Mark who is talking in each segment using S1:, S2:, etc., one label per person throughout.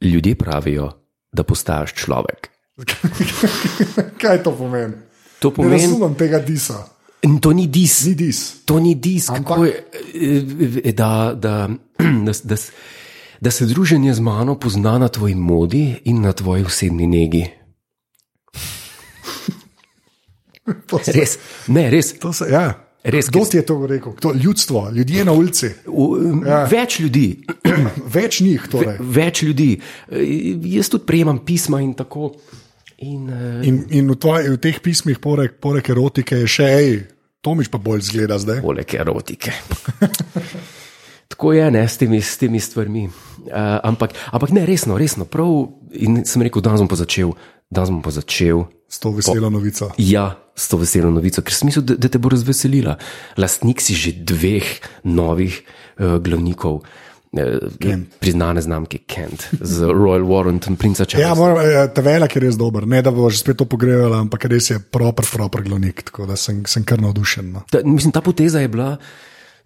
S1: Ljudje pravijo, da postaješ človek.
S2: Kaj to pomeni?
S1: To
S2: Ne
S1: pomeni,
S2: razumem tega disa,
S1: in to ni dis,
S2: ni dis.
S1: to ni dis,
S2: Ampak-
S1: kako je, eh, da, da, da, s- da, s- da se druženje z mano pozna na tvoji modi in na tvoji osebni negi.
S2: To se,
S1: Res, ne, res.
S2: to se, ja.
S1: Res,
S2: Kdo
S1: ker-
S2: ti je to rekel? Kdo, ljudstvo, ljudje na ulici.
S1: V, ja.
S2: Ja.
S1: Več ljudi,
S2: Več njih. Torej.
S1: več ljudi. Eh, Jaz tudi prejemam pisma in tako. In, eh,
S2: In, in v, tvoj, v teh pismih, poleg, poleg erotike, je še ej, Tomič pa bolj zgleda zdaj.
S1: poleg erotike. Tako je, ne, s temi, s temi stvarmi. Uh, ampak, ampak ne, resno, resno, prav. In sem rekel, da bom pa začel, da bom pa začel.
S2: S to veselo novico.
S1: Ja, s to veselo novico, ker sem mislil, da, da te bo razveselila. Lastnik si že dveh novih uh, glavnikov, uh, priznane znamke Kent, z Royal Warrant in Prince
S2: Ja,
S1: Charles.
S2: moram, eh, ta velak je res dober. Ne, da bo že spet to pogrevala, ampak res je proper, proper glavnik. Tako da sem, sem kar navdušen. No.
S1: Ta, mislim, ta poteza je bila,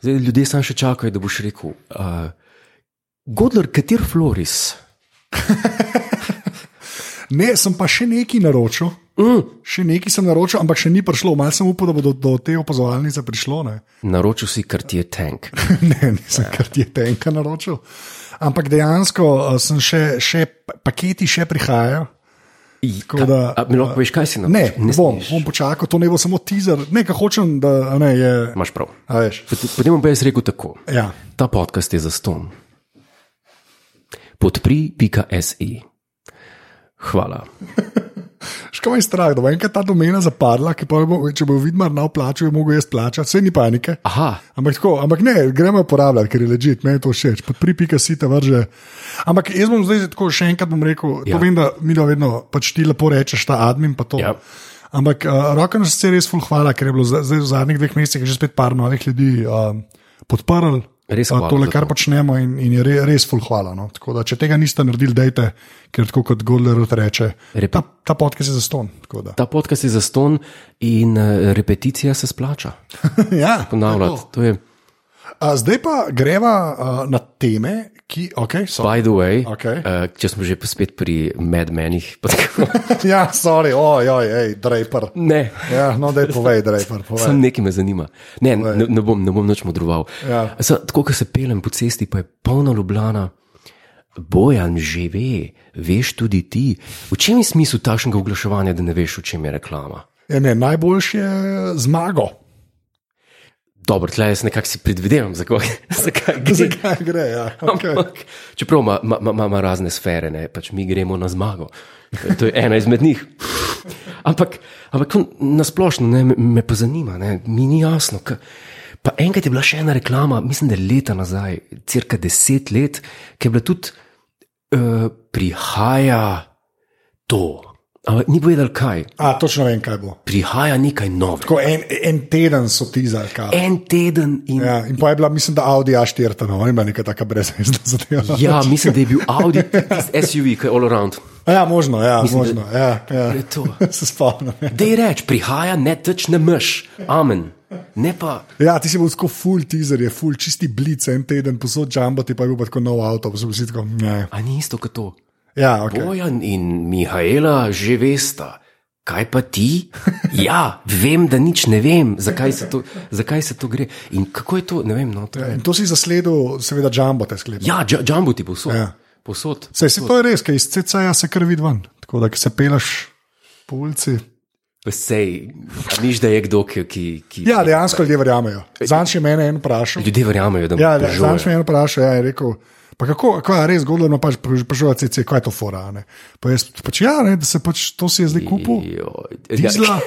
S1: zdaj ljudje samo še čakajo, da boš rekel. Uh, Godler, kater floris?
S2: Ne, sem pa še nekaj naročil. Mm. Še nekaj sem naročil, ampak še ni prišlo. Mal sem upal, da bo do, do te opazovalnice prišlo. Ne,
S1: Naročil si kartier tank.
S2: ne nisem
S1: Ja.
S2: kar ti je tenka naročil. Ampak dejansko eh, sem še, še paketi še prihajajo. Tako da,
S1: A, mi lahko veš, kaj si na
S2: Ne, ne bom, bom počakal, to ne bo samo teaser, ne, kaj hočem, da a ne je.
S1: Imaš prav.
S2: a Veš,
S1: Pot- Potem bom pa jaz rekel tako.
S2: ja.
S1: Ta podcast je za ston. Podpri.se. E. Hvala.
S2: Škoda je strah, da bo enkrat ta domena zapadla, ki pa bo, če bo vidmar na plaču, je mogel jaz plačati, vse ni panike.
S1: Aha,
S2: Ampak, tako, ampak ne, gremo jo uporabljati, ker je ležit, meni je to všeč, pod pripika si te vrže. Ampak jaz bom zdaj tako še enkrat bom rekel, ja.
S1: Ja.
S2: to vem, da mi da vedno pač ti lepo rečeš ta admin, pa to.
S1: Ja.
S2: Ampak uh, roken se je res ful hvala, ker je bilo zdaj, zdaj v zadnjih dveh mesecih že spet par novih ljudi uh, podprl.
S1: Res
S2: eh,
S1: hvala
S2: tole,
S1: za
S2: kar
S1: to.
S2: počnemo, in, in je re, res ful hvala. No. Tako da, če tega niste naredili, dajte, ker tako kot Godler reče,
S1: Rep-
S2: ta, ta podcast je zaston. tako da.
S1: ta podcast je za ston in eh, repeticija se splača.
S2: ja,
S1: Ponavljati, to je,
S2: A, zdaj pa greva uh, na teme, ki. Okay, so,
S1: by the way,
S2: Okej.
S1: eh, če smo že spet pri medmenih.
S2: Ja, sorry, ojoj, ej, Draper.
S1: Ne,
S2: Ja, no, da je povej, Draper. Povej.
S1: Sam nekaj me zanima. Ne, ne, ne bom, ne bom nič modroval.
S2: Ja.
S1: Sa, tako, ko se pelem po cesti, pa je polna Ljubljana. Bojan že ve, veš tudi ti. V čem je smisel takšnega oglaševanja, da ne veš, v čem je reklama?
S2: Ja, ne, najboljši je zmago.
S1: Dobro, tle jaz nekako si predvidevam, zakaj, zakaj gre.
S2: Zakaj gre? Ja, okay.
S1: Ampak, Čeprav ima- ima- ima ima- ima razne sfere, ne? pač mi gremo na zmago. To je ena izmed njih. Ampak, ampak nasplošno ne, me- me pa zanima, ne? mi ni jasno. Ka... Pa enkrat je bila še ena reklama, mislim, da leta nazaj, cirka deset let, ki je bila tudi uh, prihaja to. Ampak ni povedal kaj,
S2: A, točno vem, kaj bo.
S1: prihaja nekaj novega.
S2: Tako en, en teden so ti zakali.
S1: En teden in
S2: Ja, in pa je bila, mislim, da Audi A4, ta nova, ima neka taka brezvezna zadeva.
S1: Ja, mislim, da je bil Audi tisti SUV, ki je all around.
S2: A ja, možno, ja, mislim, možno. Ja, ja.
S1: je to.
S2: Se spomnim. ja.
S1: Dej reč, prihaja ne teč ne mrš, amen. Ne pa,
S2: Ja, ti si bil tako full teaser, je full čisti blic, en teden posod jumbo, ti pa je bil pa tako nov avto, pa so bili vsi tako. Ne.
S1: a ni isto kot to.
S2: Ja, ok.
S1: Bojan in Mihajla že vesta. Kaj pa ti? Ja, vem, da nič ne vem, zakaj se to, zakaj se to gre. In kako je to, ne vem. No, to je.
S2: In to si zasledil, seveda, jumbo te sklepam.
S1: Ja, dž- džambo ti posod.
S2: Ja.
S1: posod.
S2: Sej, sej to je res, ker iz CC-ja se krvi ven, tako da ko se peleš po ulici.
S1: Sej, a miš, da je kdo, ki. ki, ki
S2: Ja, dejansko ljudje verjamejo. Zanj je mene en vprašal.
S1: Ljudje verjamejo, da
S2: Ja,
S1: mu
S2: zanj
S1: požuje.
S2: je en vprašal, ja, je rekel. Pa kako, kaj je res zgodilo, no pač prišel je CC, kaj je to fora. a ne?" Pa jaz pač ja, ne, da se pač to si je zdaj kupil.
S1: Joj, ja,
S2: Dizla,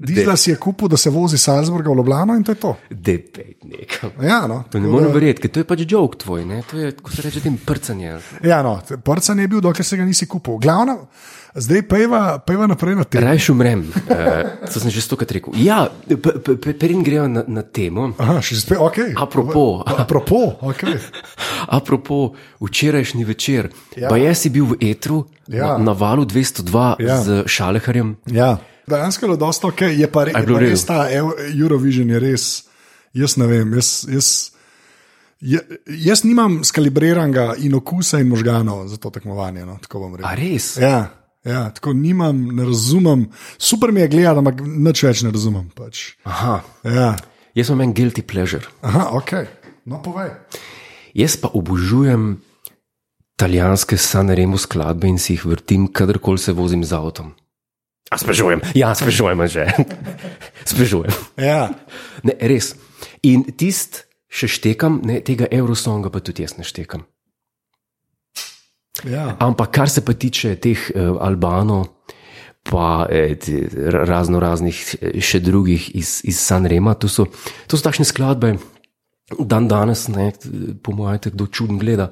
S2: dizla si je kupil, da se vozi iz Salzburga v Ljubljano in to je to.
S1: Depet nekam.
S2: Ja, no.
S1: To ne morem verjeti, ker to je pač žog tvoj, ne? to je, ko se reče, tem prcanje.
S2: Ja, no, prcan je bil, dokler se ga nisi kupil. Glavna, zdaj peva, peva naprej na te.
S1: Rajš umrem, uh, to sem že stokrat rekel. Ja, perin grejo na, na temo.
S2: Aha, še spet, ok.
S1: Apropo.
S2: Apropo, ok.
S1: Apropo, včerajšnji večer, ja. pa jaz si bil v Etru, ja.
S2: Ja.
S1: na, na valu 202 ja.
S2: Ja.
S1: z Šaleharjem.
S2: Ja. Dejansko je bilo dosta ok, je pa, re,
S1: je
S2: je
S1: bilo
S2: pa
S1: v redu?
S2: res ta Ev- Eurovision je res. Jaz ne vem, jaz, jaz Ja, jaz nimam skalibriranega in okusa in možganov za to tekmovanje. No, tako bom rekel.
S1: A res?
S2: Ja, ja, tako nimam, ne razumem. Super mi je gledati, ampak nič več ne razumem. Pač.
S1: Aha,
S2: Ja.
S1: jaz imam en guilty pleasure.
S2: Aha, ok, no povej.
S1: Jaz pa obožujem italijanske Sanremo skladbe in si jih vrtim, kadarkoli se vozim z avtom. A sprašujem, ja, sprašujem že. sprašujem.
S2: Ja,
S1: Ne, res. In tist še štekam, ne, tega Eurosonga pa tudi jaz ne štekam.
S2: ja.
S1: Ampak kar se pa tiče teh eh, Albanov, pa eh, te ra- razno raznih eh, še drugih iz, iz Sanrema, to so, to so takšne skladbe. Dan danes, ne, t- po mojem, te kdo čuden gleda,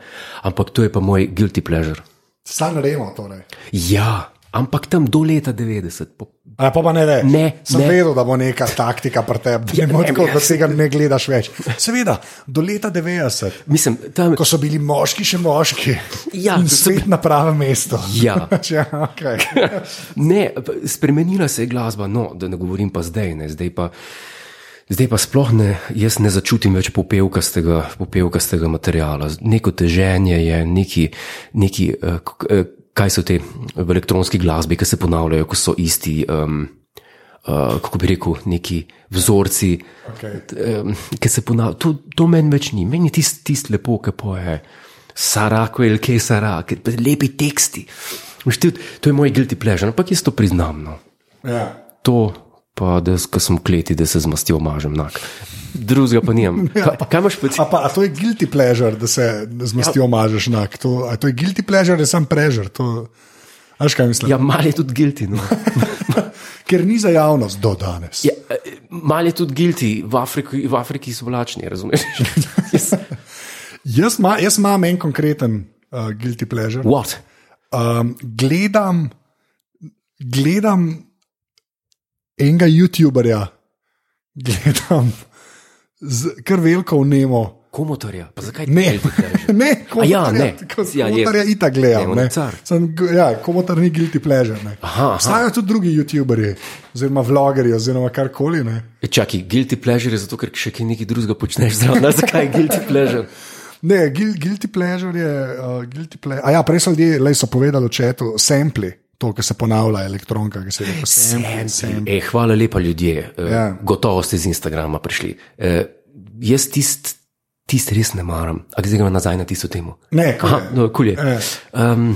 S1: ampak to je pa moj guilty pleasure.
S2: San Remo. Torej.
S1: Ja, ampak tam do leta 90, po,
S2: A, pa, pa ne, ne.
S1: Ne,
S2: Sem
S1: ne. Ja,
S2: vedel, da bo neka taktika pri tebi, da ne moreš tako, da tega ne gledaš več. Seveda, do leta 90,
S1: mislim, tam,
S2: ko so bili moški še moški
S1: Ja,
S2: in
S1: to so
S2: svet na pravem mestu.
S1: Ja.
S2: ja okay.
S1: Ne, p- spremenila se je glasba, no, da ne govorim pa zdaj. Ne, zdaj, pa, zdaj pa sploh ne, jaz ne začutim več popevkastega, popevkastega materiala. Z- Neko teženje je, neki, neki eh, k- eh, kaj so te v elektronski glasbi, ki se ponavljajo, ko so isti. Um, Uh, kako bi rekel, neki vzorci,
S2: Okej.
S1: um, ki se ponavljajo. To, to meni več ni, meni je tisto tist lepo, ki poje, sarako ali kaj sara, ki- lepi teksti. Veš, to- To je moj guilty pleasure, ampak jaz to priznam. No.
S2: ja.
S1: To pa, da s- ko sem v kleti, da se z mastjo mažem. Nak. Drugega pa nimam. Kaj, kaj imaš pa ti?
S2: A, pa, a to je guilty pleasure, da se z
S1: Ja.
S2: mastjo mažeš na to. A to je guilty pleasure, je sam prežer. To, a veš, kaj mislim?
S1: Ja, mal je tudi guilty. No.
S2: Ker ni za javnost do danes.
S1: Ja, eh, mal je tudi guilty, v Afriki, v Afriki so vlačni, razumeš? Jaz-
S2: Jaz, ma, jaz imam en konkreten uh, guilty pleasure.
S1: What?
S2: Um, gledam, gledam enega YouTuberja, gledam z- kar veliko vnemo.
S1: Komotorja, pa zakaj
S2: Ne,
S1: guilty pleasure?
S2: ne,
S1: ja,
S2: komotarja,
S1: ne.
S2: tako
S1: Ja, je.
S2: komotarja itak
S1: Ne,
S2: gledam.
S1: on
S2: Ne,
S1: je car.
S2: Sem, g- ja, komotar ni guilty pleasure. Ne.
S1: Aha, aha.
S2: Obstajajo tudi drugi YouTuberji, oziroma vlogerji, oziroma karkoli. Ne.
S1: E, Čakaj, guilty pleasure je zato, ker še kaj nekaj drugega počneš zraven. Zakaj je guilty pleasure?
S2: Ne, guil- guilty pleasure je. Uh, guilty ple A ja, prej so ljudje le so povedali, če je to sampli, to, kar se ponavlja, elektronka, ki se reče sampli. sampli.
S1: E, hvala lepa, ljudje. E,
S2: Ja.
S1: ja. Gotovo ste z Instagrama prišli. E, jaz tist, tist res ne maram. A zdaj gremo nazaj na tisto temo.
S2: Ne, kul je.
S1: Aha, no, kul je.
S2: E.
S1: Um,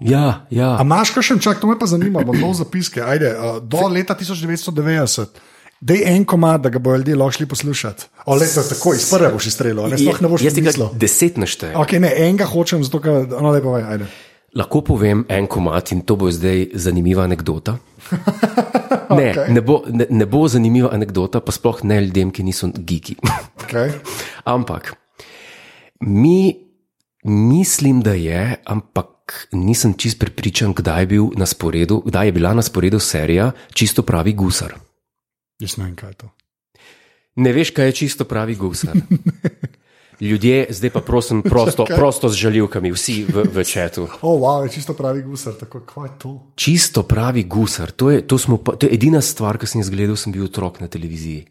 S1: ja,
S2: A
S1: ja.
S2: imaš kakšen čak, to me pa zanima, bom dol zapiske, ajde, uh, do leta 1990. Dej en komad, da ga bojo ljudje lahko šli poslušati. O, leta, tako iz prve boš izstrelil, a ne sploh ne boš
S1: jaz tega
S2: mislil.
S1: deset naštejem.
S2: Ok, ne, enega hočem, zato ker, no, lepo, vaj, ajde.
S1: Lahko povem en komat in to bo zdaj zanimiva anekdota. Ne, okay. ne, bo, ne, ne bo zanimiva anekdota, pa sploh ne ljudem, ki niso geeki.
S2: Okay.
S1: Ampak mi, mislim, da je, ampak nisem čist prepričan, kdaj, je bil na sporedu, kdaj je bila na sporedu serija Čisto pravi gusar.
S2: Jaz ne vem, kaj je to.
S1: Ne veš, kaj je čisto pravi gusar. Ljudje, zdaj pa prosim, prosto, prosto z žaljivkami, vsi v, v četu.
S2: O, oh, wow, je čisto pravi gusar, tako kaj je to.
S1: Čisto pravi gusar, to je, to smo pa, to je edina stvar, ki sem jo gledal, sem bil otrok na televiziji.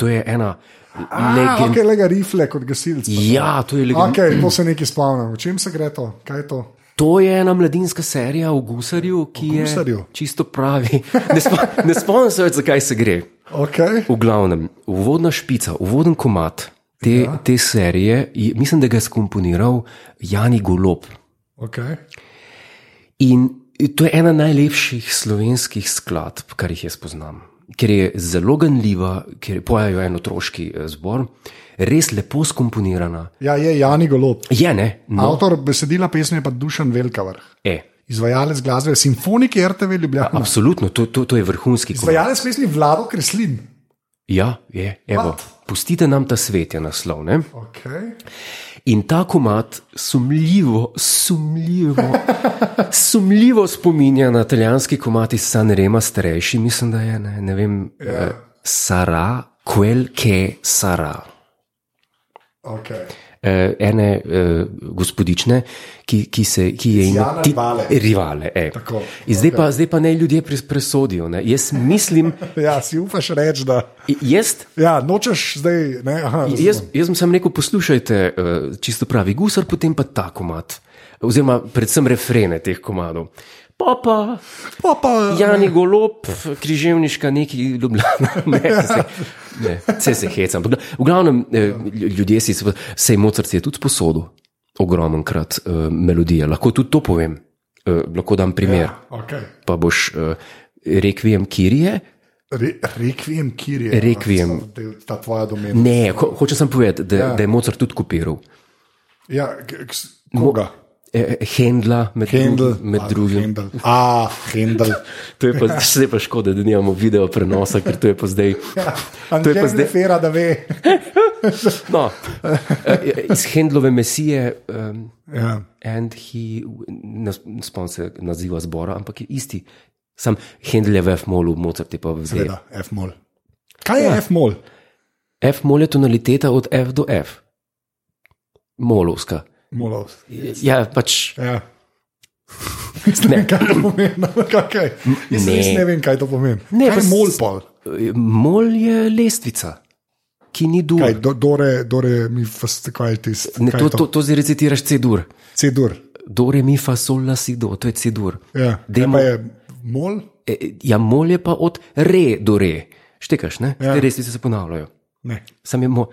S1: To je ena
S2: Ah,
S1: legenda.
S2: ok, le ga rifle kot gasilci.
S1: Ja, to je legenda.
S2: Okay, to se nekaj spomnim. O čem se gre to? Kaj je to?
S1: To je ena mladinska serija o gusarju, ki
S2: O gusarju?
S1: je čisto pravi. Ne spo- Ne spomnim se več, zakaj se gre.
S2: Okay.
S1: V glavnem, uvodna špica, uvoden komat te, ja. te serije, je- mislim, da ga je skomponiral Jani Golob.
S2: Okay.
S1: In to je ena najlepših slovenskih skladb, kar jih jaz poznam. Ker je zelo ganljiva, ker pojejo en otroški eh, zbor, res lepo skomponirana.
S2: Ja, je Jani Golob.
S1: Je ne, no,
S2: Avtor besedila pesmi je pa Dušan Velkavrh.
S1: e,
S2: Izvajalec glasbe, simfonik RTV Ljubljana.
S1: absolutno, to, to, to je vrhunski komat.
S2: Izvajalec pesmi Vlado Kreslin.
S1: Ja, je, evo. Pustite nam ta svet, je naslov. Ne?
S2: Okay.
S1: In ta komat sumljivo, sumljivo, sumljivo spominja na italijanski komat iz Sanrema, starejši, mislim, da je, ne, ne vem, ja. Sara, quel che Sara.
S2: Okay.
S1: eh, ene eh, gospodične, ki, ki, se, ki je
S2: Jana Rivale.
S1: rivale eh.
S2: Tako,
S1: In zdaj, okay. pa, zdaj pa naj ljudje pres- presodijo. Ne. Jaz mislim,
S2: Ja, si upaš reči, da
S1: jaz
S2: ja, nočeš zdaj. Ne, aha,
S1: Jaz, jaz sem samo rekel, poslušajte, eh, čisto pravi gusar, potem pa ta komat. Oziroma, predvsem refrene teh komadov. Papa,
S2: pa, pa,
S1: Jani Golop, križevniška neki Ljubljana. Ne, se, ne, vse se hecam. Ampak V glavnem, eh, ljudje si, seveda- sej Mozart je tudi sposodil ogromen krat eh, melodije. Lahko tudi to povem, eh, lahko dam primer.
S2: Ja, okay.
S1: Pa boš eh, rekvijem Kirije,
S2: Re, rekviem, kjer je
S1: Requiem.
S2: ta tvoja domena.
S1: ne, ho, hočem sem povedati, da, ja. da je Mozart tudi kopiral.
S2: Ja, k- k- s- koga?
S1: Eh, Hendla, med,
S2: Hendel.
S1: Hendl, med drugim.
S2: Hendel. A, Hendel.
S1: To je pa
S2: Ja.
S1: zdaj pa škoda, da nimamo video prenosa, ker to je pa zdaj. To je
S2: Anže
S1: pa
S2: zdaj
S1: zdaj.
S2: fera, da ve.
S1: No, eh, iz Hendlove mesije. Um,
S2: Ja.
S1: And he, ne sp- ne spomnim se naziva zbora, ampak je isti. Sam Hendel je v F-molu, Mozart je pa v zdaj.
S2: Seveda, F-mol. Kaj je ja. F-mol?
S1: F-mol je tonaliteta od F do F. Molovska.
S2: Molov.
S1: Ja, pač
S2: Ja. Ne. Kaj to pomeni? Kaj? Jaz
S1: Ne.
S2: ne. ne vem, kaj to pomeni.
S1: Ne, pa
S2: kaj je
S1: s-
S2: mol pol?
S1: eh, mol je lestvica, ki ni dur.
S2: Kaj, do, dore, dore, mi fast, kaj je tisto?
S1: Ne,
S2: Kaj
S1: to,
S2: je
S1: to, to zdaj recitiraš C-dur.
S2: C-dur.
S1: Do, re, mi, fa, sol, la, si, do, to je C-dur.
S2: Ja. Kaj
S1: Demo-
S2: pa je mol?
S1: E, Ja, mol je pa od re do re. Štekaš, ne? Ja.
S2: Ja.
S1: Te resnice se ponavljajo.
S2: Ne.
S1: Sam je mol.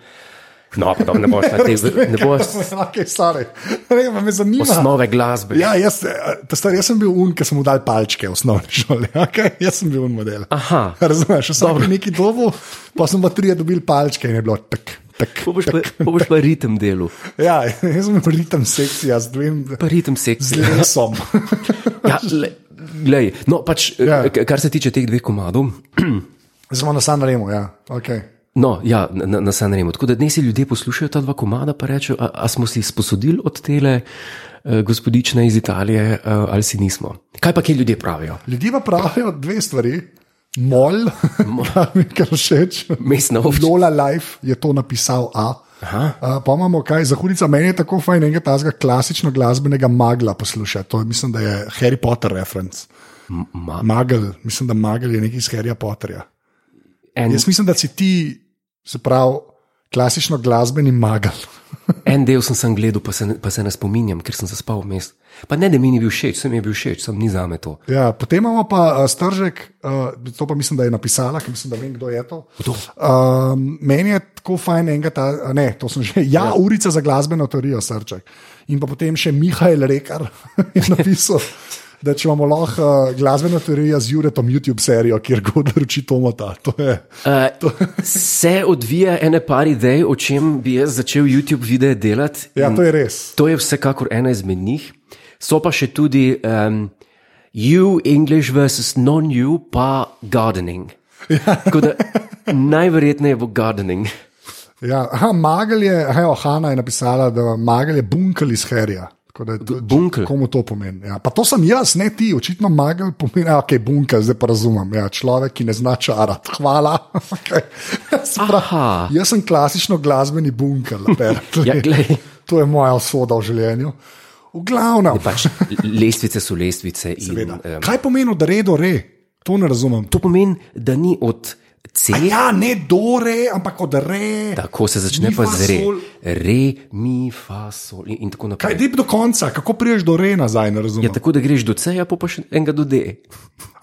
S1: No, pa dobro, ne boš na te, ne boš
S2: Kaj, stari. Ne, pa me zanima.
S1: osnove glasbe.
S2: Ja, jaz, eh, ta star, jaz sem bil un, ki sem mu dal palčke v osnovni šoli. Okay? Jaz sem bil un model.
S1: Aha.
S2: Razumeš, sem bil neki dobu, pa sem pa trije dobil palčke in je bilo tak. tak,
S1: Po boš
S2: tak.
S1: pa, po boš pa ritem delu,
S2: Ja, jaz sem bil ritem sekcija z dvem.
S1: pa ritem sekcije.
S2: Z lesom.
S1: Ja, le, glej, no, pač,
S2: Ja.
S1: ja. Kar se tiče teh dveh komadov,
S2: Zelo na samem remu, ja. Okay.
S1: no, ja, na, na- na Sanremo. Tako da dnes si ljudje poslušajo ta dva komada, pa rečejo, a, a smo si sposodili od tele eh, gospodične iz Italije, eh, ali si nismo. Kaj pa kje ljudje pravijo?
S2: Ljudje pa pravijo dve stvari. Mol, kar mi je všeč.
S1: Mestna občina.
S2: Lola Life je to napisal A. Uh, pa imamo kaj, zahodica, meni je tako fajn enega tazga klasično glasbenega magla poslušati. To je, mislim, da je Harry Potter reference.
S1: Ma,
S2: Magel, mislim, da Magel je nekaj iz Harryja Potterja.
S1: en,
S2: Jaz mislim, da si ti, se pravi, klasično glasbeni magel.
S1: En del sem, sem gledal, pa se, ne- pa se ne spominjam, ker sem zaspal vmes. Pa ne, da mi ni bil všeč, sem je bil všeč, sem ni za me to.
S2: Ja, potem imamo pa uh, Stržek, uh, to pa mislim, da je napisala, ker mislim, da vem, kdo je to.
S1: Kdo?
S2: Um, meni je tako fajn enega, ta, a ne, to sem že. Ja, ja, urica za glasbeno teorijo, srček. In pa potem še Mihajl Rekar je napisal. Da če imamo lahko uh, glasbeno teorijo z Juretom YouTube serijo, kjer god reči Tomata. To je,
S1: Uh, se odvija ene par idej, o čem bi jaz začel YouTube videe delati.
S2: ja, to je res.
S1: To je vsekakor ena izmed njih. So pa še tudi um, You English versus non-you, pa gardening. Ja. Da, najverjetneje bo gardening.
S2: Ja, aha, Magel je, aha, jo, Hanna je napisala, da Magel je bunkel iz Herja. Tako da je to-
S1: Bunkel?
S2: Komu to pomeni? Ja, pa to sem jaz, ne ti, očitno Magel pomeni, da okay, je bunkel, zdaj pa razumem. Ja, človek, ki ne zna čarati, hvala. Okay.
S1: Aha.
S2: Prav, jaz sem klasično glasbeni bunkel, apparently.
S1: Ja, glej.
S2: to je moja usoda v življenju. V glavnem,
S1: Pač, lestvice so lestvice. In,
S2: seveda.
S1: um,
S2: kaj pomeni, da redo re? To ne razumem.
S1: to pomeni, da ni od C.
S2: Ja, ne do re, ampak od re.
S1: Tako se začne
S2: Mi,
S1: pa
S2: fa,
S1: z re.
S2: sol.
S1: Re, mi, fa, sol in, in tako
S2: Kaj
S1: naprej.
S2: dip do konca, kako priješ do re nazaj, ne razumem.
S1: Ja, tako da greš do C-ja, pa, pa še enega do D.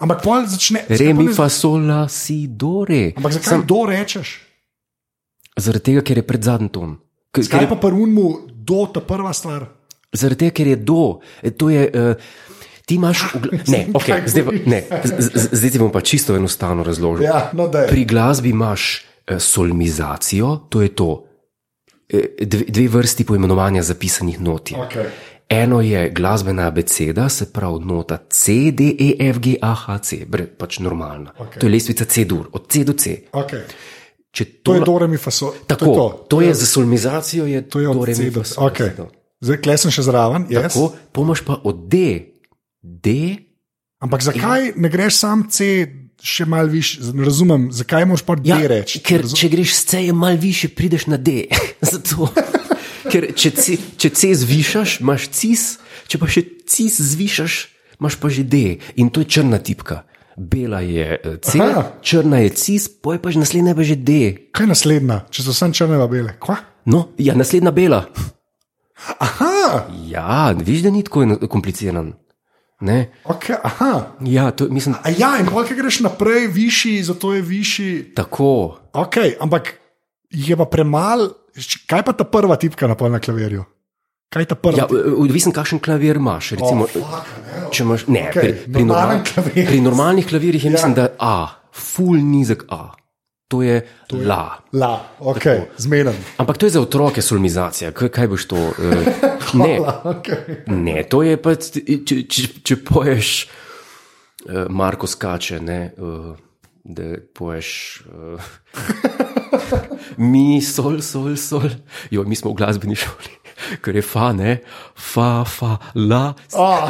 S2: Ampak pol začne.
S1: Re,
S2: zakaj pol
S1: mi,
S2: ne-
S1: fa, sol, la, si, do, re.
S2: Ampak zakaj Sam... do rečeš?
S1: Zaradi tega, ker je pred zadnjim ton. K-
S2: Kaj
S1: Ker je,
S2: pa prvemu do ta prva stvar?
S1: zaradi tega, ker je do. E, To je. Uh, ti imaš. v gla- Ne, okay, zdaj, pa- ne, z- z- zdaj ti bom pa čisto enostavno razložil.
S2: Ja, no da je.
S1: Pri glasbi imaš eh, solmizacijo, to je to. Eh, Dve, dve vrsti poimenovanja zapisanih not. je.
S2: Okay.
S1: Eno je glasbena abeceda, se pravi nota C, D, E, F, G, A, H, C, bre, pač normalna.
S2: Okej.
S1: Okay. To je lestvica C-dur, od C do C.
S2: Okay.
S1: Če
S2: To je
S1: na-
S2: do remi faso.
S1: tako,
S2: to je, to. Ja.
S1: to je za solmizacijo, je
S2: To je od
S1: do, re, mi,
S2: C
S1: fa,
S2: do C.
S1: sol, la,
S2: Okay.
S1: si, do.
S2: Zdaj klesen še zraven. Yes.
S1: Tako, pomaž pa od D, D,
S2: Ampak zakaj ne greš sam C še malo više? Ne razumem,
S1: Ja,
S2: Ja, zakaj moš pa D reči?
S1: ker če greš s C, je malo više, prideš na D. Zato. Ker če, C- če C zvišaš, imaš cis, če pa še cis zvišaš, imaš pa že D. In to je črna tipka. Bela je eh, C,
S2: Aha.
S1: Aha. črna je cis, poj pa že naslednja je pa že D.
S2: Kaj je naslednja, če so vse črne pa bele? Kva?
S1: No, ja, naslednja bela.
S2: Aha,
S1: Ja, viš, da ni tako eno- kompliciran. Ne?
S2: okay, aha.
S1: Ja, to, mislim,
S2: A ja, in pol, ki greš naprej, višji, zato je višji.
S1: tako.
S2: Ok, ampak jih je pa premalo. Kaj pa ta prva tipka na pol na klavirju? Kaj je ta prva?
S1: Ja, eh,
S2: tipka?
S1: odvisen, kakšen klavir imaš. Recimo,
S2: Oh, fuck, ne,
S1: Če imaš, ne,
S2: Okej,
S1: okay, pri, pri,
S2: normalen
S1: normal,
S2: klavir.
S1: pri normalnih klavirjih je, ja. mislim, da A, full nizek A. To je, to je la.
S2: La, ok, zmeden.
S1: Ampak to je za otroke solmizacija, kaj, kaj boš to? eh, ne,
S2: La, okay.
S1: ne, to je pa, če, če, če poješ, eh, Marko skače, ne, eh, da poješ. eh, Mi, sol, sol, sol. Jo, mi smo v glasbeni šoli, ker je fa, ne, fa, fa, la.
S2: oh,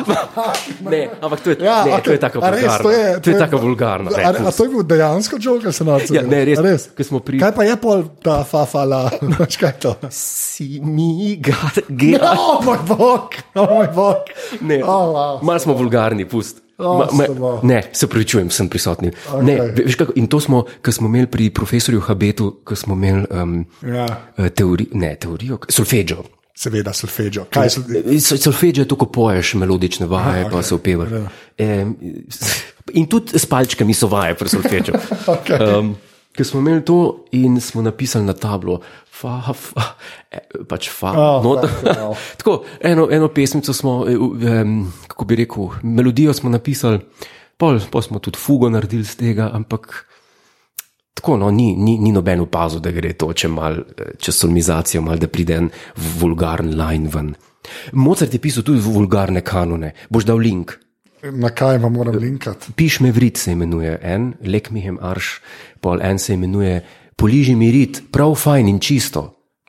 S1: Ne, ampak to je, ja,
S2: ja,
S1: ne,
S2: okay.
S1: okay. to je tako
S2: A res,
S1: vulgarno.
S2: To je,
S1: to je tako vulgarno.
S2: A,
S1: ne,
S2: a to je bil dejansko žog, se nauči.
S1: Ja, ne, res,
S2: res.
S1: ko smo pri-
S2: Kaj pa je pol ta fafala? Veš kaj je to? Ja,
S1: Si mi, ga, gera.
S2: O moj bog, o moj bog.
S1: Ne,
S2: Oh, wow.
S1: malo smo vulgarni, pust.
S2: O, slabo.
S1: ne, se pravičujem, sem prisotni. Okay. Ne, ve- veš kako, in to smo, ko smo imeli pri profesorju Habetu, ko smo imeli um,
S2: Ja,
S1: teori, ne, teorijo, solfeggio.
S2: seveda, solfeđo. Kaj so
S1: Eh,
S2: Ah,
S1: Solfeggio je to, ko poješ melodične vaje, Aha, pa okay. se opevaš.
S2: Ja.
S1: E, in tudi s palčkami so vaje pri solfeggio.
S2: Okej.
S1: um, Ker smo imeli to in smo napisali na tablo, fa, fa, eh, pač fa.
S2: Oh,
S1: no,
S2: fuck, wow.
S1: tako, eno, eno pesmico smo, um, kako bi rekel, melodijo smo napisali, pol, pol smo tudi fugo naredili z tega, ampak tako, no, ni, ni, ni noben opazil, da gre to, če mal, eh, čez solmizacijo, mal, da pride en vulgaren line ven. Mozart je pisal tudi vulgarne kanone, boš dal link.
S2: na kaj vam moram linkati?
S1: Piš me vrit se imenuje en, lek mi hem arš, pol en se imenuje poliži mi rit, prav fajn in čisto.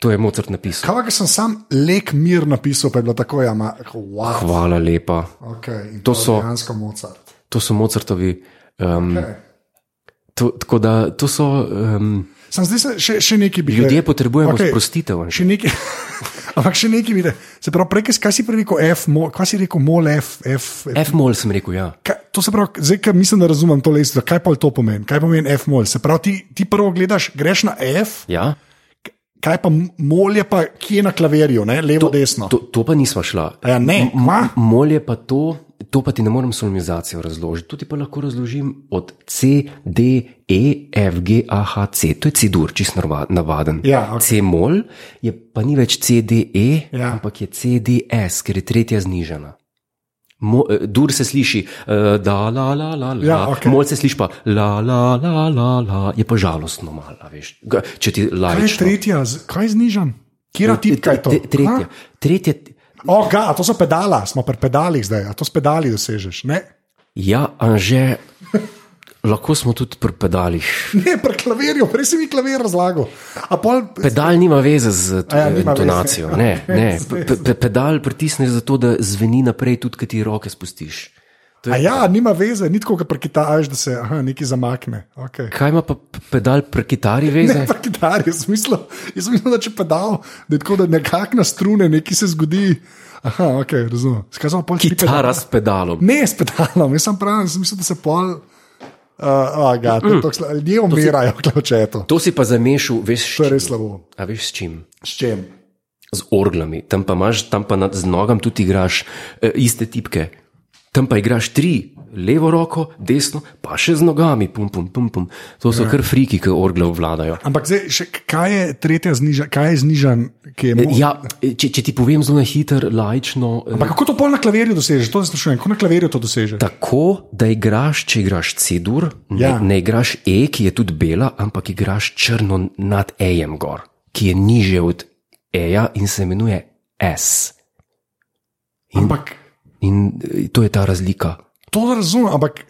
S1: To je Mozart napisal.
S2: Kaj pa, ker sem sam lek mir napisal, pa je bilo tako, ja, ma, wow.
S1: Hvala lepa.
S2: Okay, in
S1: To
S2: to
S1: so-
S2: so dejansko Mozart.
S1: To so Mozartovi. Um,
S2: Okay.
S1: to, tako da to so um,
S2: Sam zdaj se, še, še nekaj bi
S1: ljudje, potrebujemo okay.
S2: Okej.
S1: sprostitev. Anže.
S2: Še nekaj. Ampak še nekaj vidite. Se pravi, prej, kaj si prej rekel, F, mo, kaj si rekel, mol, F, F. F.
S1: F-mol sem rekel, ja.
S2: Kaj, to se pravi, zdaj, ker mislim, da razumem to lestvico, kaj pa to pomeni, kaj pomeni F, mol. Se pravi, ti, ti prvo gledaš, greš na F,
S1: ja.
S2: kaj pa m- mol je pa, ki je na klavirju, ne, levo, to, desno.
S1: To,
S2: To,
S1: to pa nismo šla.
S2: ja, ne, ma,
S1: Mol je pa to, to pa ti ne morem solmizacijo razložiti. To ti pa lahko razložim od C, D, E, F, G, A, H, C. To je C-dur, čist narva- navaden.
S2: Ja, ok.
S1: C-mol je pa ni več C, D, E,
S2: Ja.
S1: ja. ampak je C, D, S, ker je tretja znižana. Mo, eh, dur se sliši, eh, da, la, la, la, la.
S2: Ja, ok.
S1: mol se sliši pa, la, la, la, la, la, je pa žalostno malo, a veš. Ga- Če ti
S2: kaj je
S1: lajiš.
S2: tretja, z- kaj je znižan? Kira tipka je to?
S1: Tretja.
S2: Ha?
S1: Tretja.
S2: O, ga, to so pedala, smo pri pedalih zdaj, a to s pedali dosežeš. Ne,
S1: Ja, anže, lahko smo tudi pri pedalih.
S2: ne pri klavirju, prej si mi klavir razlagal. A pol,
S1: Pedal nima veze z to,
S2: A ja,
S1: ja,
S2: nima
S1: intonacijo.
S2: veze.
S1: Ne, ne. Pe, pe, pedal pritisneš zato, da zveni naprej, tudi ko ti roke spustiš. To
S2: A
S1: je,
S2: ja, nima veze, ni tako, kot pri kitarju, da se aha, nekaj zamakne. Okay.
S1: kaj ima pa p- pedal pri kitari
S2: Ne,
S1: veze?
S2: pri kitarju, jaz mislim, jaz mislim, da če pedal, da je tako, da nekako na strune nekaj se zgodi. Aha, ok, razumem. Skazal pol ti
S1: Kitara
S2: pedal.
S1: s pedalom.
S2: Ne, s pedalom, jaz sem pravi, jaz mislim, da se pol. Uh, oh, God, mm. toksla, ljudje umirajo, klavčeto.
S1: To si pa zamešal, veš, s
S2: To je
S1: čim?
S2: res slabo.
S1: A veš s čim?
S2: S čem?
S1: Z orglami. Tam pa imaš, tam pa nad, z nogam tudi igraš eh, iste tipke. Tam pa igraš tri, levo roko, desno, pa še z nogami, pum, pum, pum. pum. To
S2: Ja.
S1: so kar friki, ki orgle obvladajo.
S2: Ampak zdaj, še, kaj je tretja znižan, kaj je znižan, ki je možen?
S1: Ja, če, če ti povem zelo na hitro, lajčno. eh,
S2: Ampak kako to pol na klavirju dosežeš? To se sprašujem, kako na klavirju to dosežeš?
S1: Tako, da igraš, če igraš cedur, ne, ja.
S2: Ja.
S1: ne igraš E, ki je tudi bela, ampak igraš črno nad E-jem gor, ki je niže od E-ja in se imenuje S.
S2: Ampak
S1: In eh, to je ta razlika.
S2: To razumem, ampak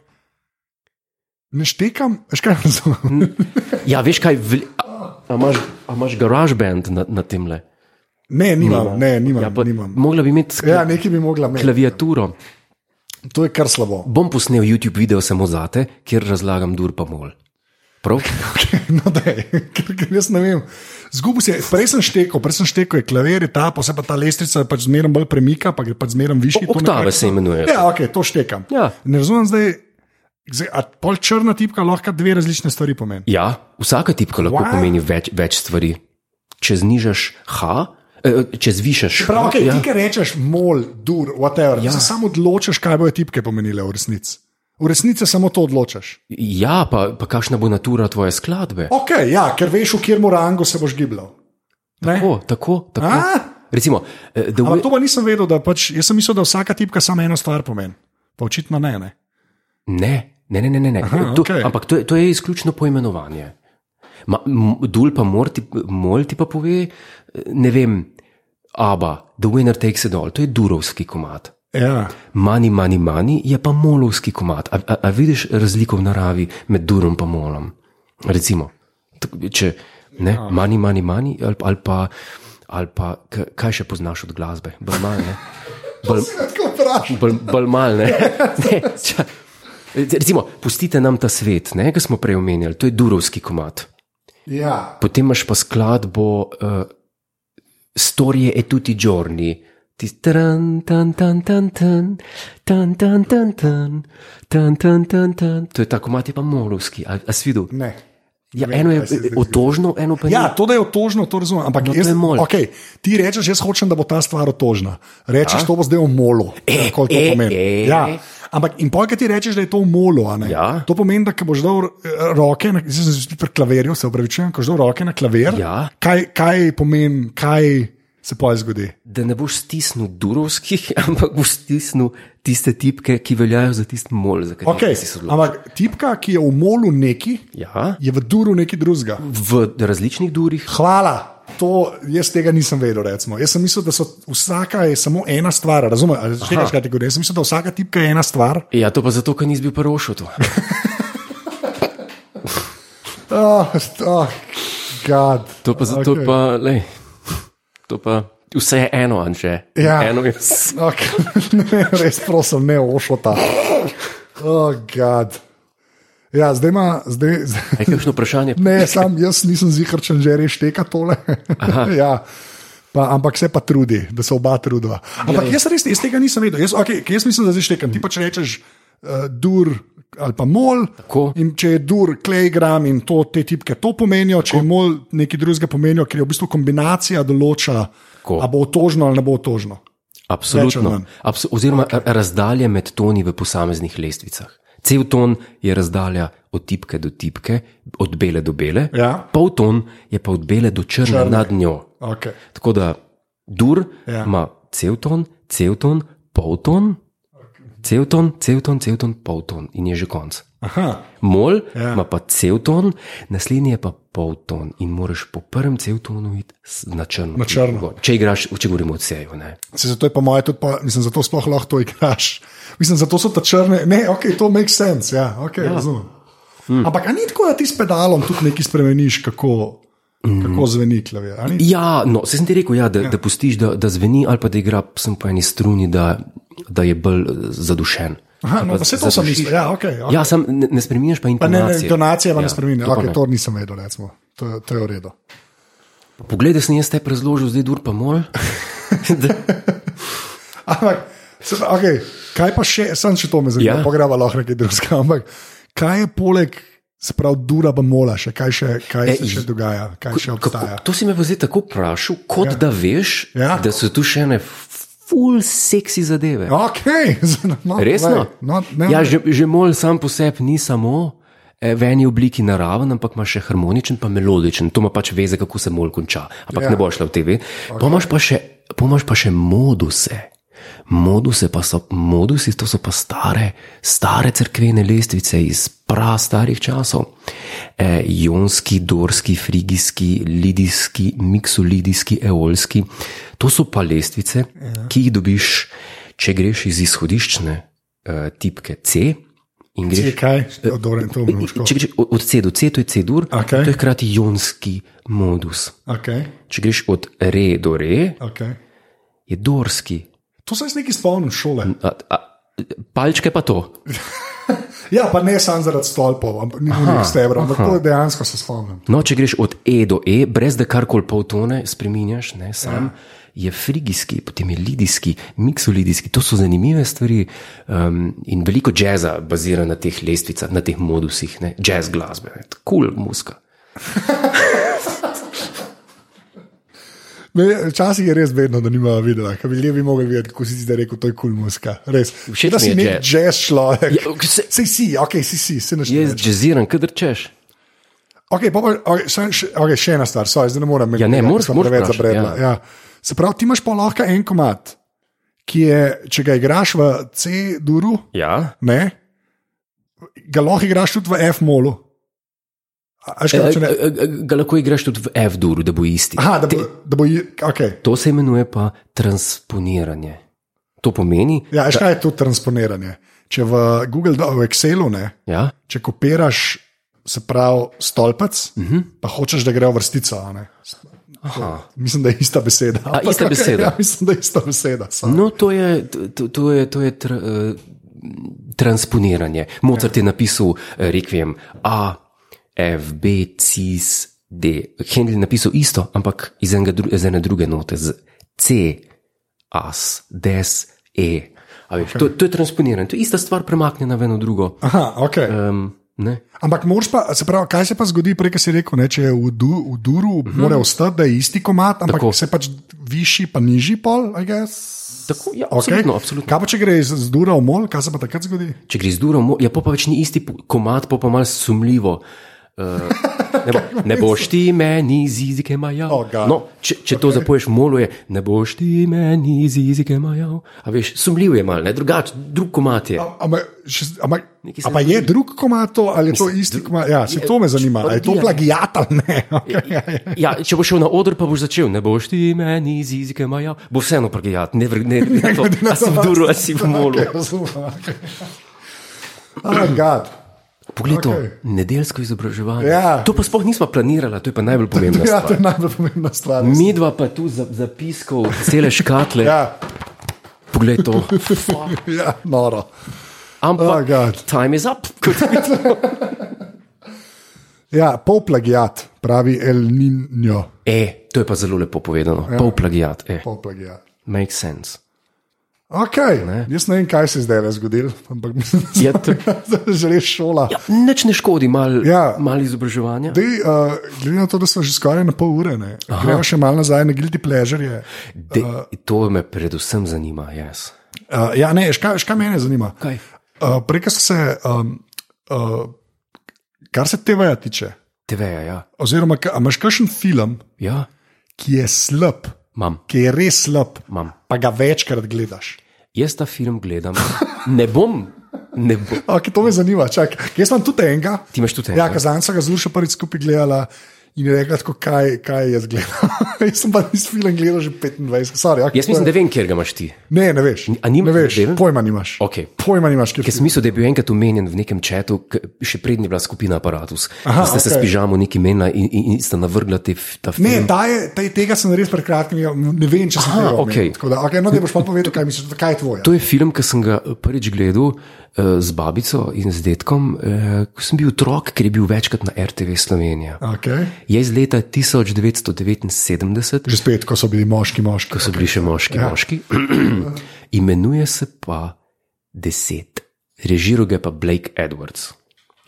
S2: ne štekam, veš kaj razumem.
S1: Ja, veš kaj, vli, a, a imaš, a imaš garaž band na, na tem le.
S2: Ne, nimam, ne, nimam.
S1: Ja,
S2: Ja,
S1: pa
S2: nimam.
S1: Mogla bi imeti skla,
S2: ja nekaj bi mogla imeti.
S1: klaviaturo.
S2: To je kar slabo.
S1: Bom posnel YouTube video samo zate, kjer razlagam dur pa mol. Prav?
S2: No, daj, ker, ker jaz ne vem. Zgubil se je, prej sem štekel, prej sem štekel, je klavir je ta, pa se pa ta lestvica pač zmeraj bolj premika, pa gre pač zmeraj višje.
S1: O- oktave se imenujejo.
S2: Ja, ok, to štekam.
S1: Ja.
S2: Ne razumem zdaj, zdaj, a pol črna tipka lahko dve različne stvari pomeni.
S1: Ja, vsaka tipka lahko
S2: Wow.
S1: wow. pomeni več, več stvari. Če znižaš H, eh, če zvišaš H,
S2: Prav, okay, ja.
S1: ja,
S2: ti, ki rečeš mol, dur, whatever, ja. se samo odločiš, kaj bojo tipke pomenile v resnici. V resnici se samo to odločiš.
S1: ja pa, pa kakšna bo natura tvoje skladbe.
S2: Ok, ja, ker veš, v kjer morangu se boš gibljal. Ne?
S1: Tako, ja. tako, tako.
S2: A?
S1: Recimo, eh, The
S2: Ampak
S1: Wi-
S2: to pa nisem vedel, da pač, jaz sem mislil, da vsaka tipka samo eno stvar pomeni. Pa očitno ne. ne.
S1: ne, ne, ne, ne, ne. ne.
S2: Aha,
S1: to,
S2: okej.
S1: Ampak to je, to je izključno poimenovanje. Ma, m- dul pa mor ti, mol ti pa pove, eh, ne vem, aba, The Winner Takes It All, to je durovski komat.
S2: Ja.
S1: Mani, mani, mani je pa molovski komat. A, a, a vidiš razliko v naravi med durom in molom? Recimo, t- če ne, mani, mani, mani ali, ali pa. Ali pa, k- kaj še poznaš od glasbe? Balmalne. Bal,
S2: Tako vprašaj.
S1: bal, balmalne. Ne, ča, recimo, pustite nam ta svet, ne, ki smo prej omenjali, to je durovski komat.
S2: Ja.
S1: Potem imaš pa skladbo uh, Storije e tutti giorni. Tisti tan, tan, tan, tan, tan, tan, tan, tan, tan, tan, tan, tan, tan. To je tako, imate pa molovski, a, a si videl?
S2: Ne.
S1: Ja,
S2: Ne vem,
S1: eno je
S2: kaj se zdaj
S1: otožno, eno pa ni.
S2: ja, to, da je otožno, to razumem. Ampak no,
S1: to
S2: jaz,
S1: je mol.
S2: okay, ti rečeš, jaz hočem, da bo ta stvar otožna. Rečeš, to bo zdaj v molu. E, to
S1: Ja. e,
S2: pomeni.
S1: e.
S2: ja. Ampak in pojdi, ti rečeš, da je to v molu. a ne?
S1: Ja.
S2: To pomeni, da ko boš dal eh, roke, na, zdaj sem spet pri klavirju, se upravičujem, ko boš dal roke na klavir.
S1: Ja.
S2: Kaj, kaj pomeni, kaj se pojdi zgodi?
S1: Da ne boš stisnil durovskih, ampak boš stisnil tiste tipke, ki veljajo za tisti mol, za katerega
S2: Okay,
S1: si se odločil.
S2: ampak tipka, ki je v molu neki,
S1: Ja,
S2: je v duru neki drugega.
S1: v različnih durih.
S2: Hvala. To, jaz tega nisem vedel. Recimo. Jaz sem mislil, da so vsaka je samo ena stvar. Razumete, če rečeš kategorijo? Jaz sem mislil, da vsaka tipka je ena stvar.
S1: Ja, to pa zato, ker nisi bil prvošel.
S2: Oh, oh, God.
S1: To pa zato, okay. pa, lej, to pa vse je eno, anče.
S2: Ja.
S1: Eno je vse.
S2: Okay. Ne, res prosim, ne ošlo ta. Oh, God. Ja, zdaj ima, zdaj,
S1: Je kakšno vprašanje?
S2: ne, sam jaz nisem zihar, če že reš teka tole. ja. Pa, ampak se pa trudi, da se oba trudiva. Ampak
S1: Ja.
S2: jaz res jaz tega nisem vedel. Jaz, okay, jaz mislim, da zdaj štekam. Ti pa če rečeš uh, dur ali pa mol.
S1: Tako.
S2: In če je dur, klejgram in to, te tipke to pomenijo, če je mol nekaj drugega pomenijo, ker je v bistvu kombinacija določa,
S1: Tako.
S2: ali bo otožno ali ne bo otožno. Več o
S1: Absolutno.
S2: manj.
S1: Abso oziroma okay. razdalje med toni v posameznih lestvicah. Cel ton je razdalja od tipke do tipke, od bele do bele,
S2: Ja.
S1: pol ton je pa od bele do črne, črne. nad njo.
S2: Okay.
S1: Tako da dur
S2: Ja.
S1: ja. ima cel ton, cel ton, pol ton, cel ton, cel ton, cel ton, pol ton in je že konc.
S2: Aha.
S1: Mol
S2: Ja.
S1: ja. ima pa cel ton, naslednji je pa pol ton in moraš po prvem cel tonu iti s- na črno.
S2: Na črno.
S1: Gor. Če igraš, če govorimo o seju, ne.
S2: Se zato je po mojem tudi, po, mislim, zato sploh lahko to igraš. Mislim, zato so ta črne, ne, ok, to makes sense, ja, ok, ja. razumem.
S1: Hm.
S2: Mm. Ampak a ni tako, da ti s pedalom tudi nekaj spremeniš, kako, mm. kako zveni klavir. a ni?
S1: Mhm. Ja, no, se sem ti rekel, ja, da, ja. da pustiš, da, da zveni, ali pa da igra sem po eni struni, da, da je bolj eh, zadušen.
S2: Aha, no, pa se to sem mislil, ja, ok. okay.
S1: Ja, sam ne, ne spremeniš pa
S2: Ne,
S1: intonacije.
S2: ne, intonacije pa ja, ne spremeni,
S1: to pa
S2: okay,
S1: ne.
S2: to nisem vedel, recimo. To, je- to je v redu.
S1: Poglej, da sem jaz te razložil, zdaj dur pa mol.
S2: Ampak, se- okay, kaj pa še, sem še to me zanima, ja.
S1: Ja.
S2: pogreba lahko nekaj drugega, ampak kaj je poleg, se pravi, dura pa mola, še kaj, še, kaj
S1: E,
S2: se še
S1: i-
S2: dogaja, kaj še
S1: Kako,
S2: obstaja.
S1: to si me pa zdaj tako vprašal, kot ja. da veš,
S2: Ja.
S1: ja. da so tu še ene full seksi zadeve.
S2: Ok, zanimivo.
S1: Resno?
S2: No, ne,
S1: ja, že, že mol sam po sebi ni samo eh, v eni obliki naraven, ampak ima še harmoničen, pa melodičen. To ima pač veze, kako se mol konča. Ampak
S2: Ja.
S1: ja. ne boš šla v TV. Okay. Pomaž pa še, pomaž pa še moduse. Moduse pa so, modusi, to so pa stare, stare crkvene lestvice iz prastarih časov. E, jonski, dorski, frigijski, lidijski, miksolidijski, eolski. To so pa lestvice, ja. ki jih dobiš, če greš iz izhodiščne eh, tipke C in
S2: Če
S1: greš.
S2: kaj, dobro, to bo šlo.
S1: Če greš od od C do C, to je C dur,
S2: Okej.
S1: to je hkrati jonski modus.
S2: Okay,
S1: Če greš od re do re,
S2: okay.
S1: je dorski.
S2: To sem jaz nekaj spomnil šole.
S1: A, a, palčke pa to.
S2: ja, pa ne samo zaradi stolpov, ampak ni bilo stebrov, ampak to dejansko se spomnim.
S1: No, če greš od E do E, brez da karkoli pol tone spremenjaš, ne, sam. Ja. Je frigijski, potem je lidijski, miksolidijski, to so zanimive stvari. Um, in veliko jazza bazira na teh lestvicah, na teh modusih, ne? jazz glasbe, kul cool muska.
S2: Me- Včasih je res vedno, da nima videla, kaj bi ljudje mogli videti, ko si ti zdaj rekel, to je kul cool muska. Res.
S1: Všeč
S2: da
S1: mi
S2: si
S1: je
S2: nek
S1: jazz.
S2: jazz človek.
S1: Ja, se-
S2: Sej si, ok, si si, se naš.
S1: Jaz jazziram, kadar češ.
S2: Okay, pa, pa- okay, še, še- okay, še ena stvar, sorry, zdaj ne morem
S1: Ja, ne,
S2: tega,
S1: moraš-
S2: sva
S1: moraš
S2: preveč
S1: vprašati,
S2: zabredla. Ja. Ja. Se pravi, ti imaš pa lahko en komat, ki je, če ga igraš v C-duru,
S1: Ja.
S2: ne, ga lahko igraš tudi v F-molu.
S1: Eh,
S2: A- a veš, kaj hočem reči?
S1: Ga lahko igraš tudi v F-duru, da bo isti.
S2: Aha, da bo, da bo okay.
S1: To se imenuje pa transponiranje. To pomeni,
S2: ja, a veš, kaj je to transponiranje. Če v Google, do- v Excelu, ne,
S1: ja,
S2: če kopiraš, se pravi, stolpec, uh -huh.
S1: Mhm.
S2: pa hočeš, da gre v vrstico. a ne. Mislim, da je ista beseda. A,
S1: ista beseda.
S2: Ja, mislim, da je ista beseda. samo.
S1: No, to je, to, to je, to je tr, eh, transponiranje. Mozart je napisal eh, Requiem A, F, B, C, S, D. Hendel je napisal isto, ampak iz, enega, dru- iz ene druge note, z C, As, Des, E. A Veš, to, to je transponiranje, to je ista stvar premaknjena v eno drugo.
S2: Aha, okay.
S1: Um, ne?
S2: Ampak moraš pa, se pravi, kaj se pa zgodi, prej ko si rekel, ne, če je v, du, v duru, mm -hmm. mora ostati, da je isti komat, ampak
S1: Mhm. Tako.
S2: Tako. se pač višji, pa nižji pol, aj gess.
S1: Tako, ja, absolutno, absolutno.
S2: Kaj pa če gre iz z dura v mol, kaj se pa takrat zgodi?
S1: Če greš z duro, mo- ja, pol pa več ni isti po- komad, pa pa malo sumljivo. Uh, ne, bo, ne boš ti meni z jezike majal.
S2: Oh, God.
S1: no, če če okay. to zapoješ, molo je, ne boš ti meni z jezike majal. A veš, sumljiv je mal, ne drugač, drug komad je.
S2: A- Ampak še- ampak-
S1: Nekaj se
S2: a pa je drug komat, to, ali je to isti komat? Ja, se to me zanima, ali je to
S1: parodija, ne.
S2: plagijat ali ne. Okay, ja, ja.
S1: Ja, če boš šel na oder, pa boš začel, ne boš ti meni z jezike majal, bo vseeno prgijat, ne vrgne, ne
S2: glede
S1: vrgne,
S2: na
S1: si v
S2: to.
S1: duro, a si v molu.
S2: Okay, razumem. Okay. Oh, God.
S1: Poglej to,
S2: Okej.
S1: nedeljsko izobraževanje.
S2: Ja.
S1: To pa sploh nismo planirali, to je pa najbolj pomembno.
S2: Ja, to je najbolj pomembna stvar.
S1: Midva pa tu za- zapiskal cele škatle.
S2: Ja,
S1: Poglej to.
S2: ja, noro. Oh,
S1: Ampak
S2: God.
S1: time is up.
S2: Ja, pol plagijat, pravi El Niño.
S1: E, to je pa zelo lepo povedano. Ja. Pol plagijat, e,
S2: Pol plagijat.
S1: makes sense.
S2: Okay, ne. Jaz ne vem, kaj se je zdaj zgodilo, ampak mislim,
S1: Ja,
S2: da
S1: to-
S2: je že res šola.
S1: Ja, nič ne škodi, malo ja.
S2: Ja.
S1: mal izobraževanja.
S2: Dej, uh, glede na to, da smo že skoraj na pol ure, ne. gremo še malo nazaj na Guilty Pleasure.
S1: De, to me predvsem zanima, jaz.
S2: Uh, ja, ne, škaj, škaj mene zanima.
S1: Kaj?
S2: Uh, Preko se, um, uh, kar se TV-ja tiče,
S1: TV-ja, ja.
S2: oziroma ka- a imaš kakšen film,
S1: ja,
S2: ki je slab,
S1: imam.
S2: ki je res slab,
S1: Imam.
S2: pa ga večkrat gledaš.
S1: Jaz ta film gledam. Ne bom, ne bom.
S2: Okay, to me zanima, čak. Jaz imam tudi enega.
S1: Ti imaš tudi
S2: Ja,
S1: enega?
S2: kazan so ga zelo še prvič skupaj gledala in je rekla, tako, kaj, kaj jaz gledam. jaz sem pa tisti film gledal že 25, sorry. Okay,
S1: Jaz mislim, da vem, kjer ga imaš ti.
S2: Ne, ne veš.
S1: A nim-
S2: ne veš,
S1: ne vem?
S2: pojma nimaš.
S1: Okej.
S2: Pojma nimaš, kje
S1: Ker sem mislil, da je bil enkrat omenjen v nekem četu, k- še prednji bila skupina Apparatus. Aha,
S2: Aha,
S1: ste okay. se
S2: okej.
S1: s pižamo neki menila in, in, in sta navrgla te, f- ta film.
S2: Ne, ta je, ta, tega sem res pred kratkim, ja, ne vem, če sem
S1: Aha,
S2: tega omenil.
S1: okej.
S2: Tako da, okay, no, da boš pa povedal, kaj misliš, kaj je tvoje.
S1: To je film, ki sem ga prvič gledal eh, z babico in z detkom, eh, ko sem bil otrok, ker je bil večkrat na RTV Slovenija.
S2: Okay.
S1: Je iz leta 1979,
S2: Že spet, ko so bili moški, moški.
S1: ko so bili še moški,
S2: Ja.
S1: moški. Imenuje se pa Deset, režiral ga je pa Blake Edwards.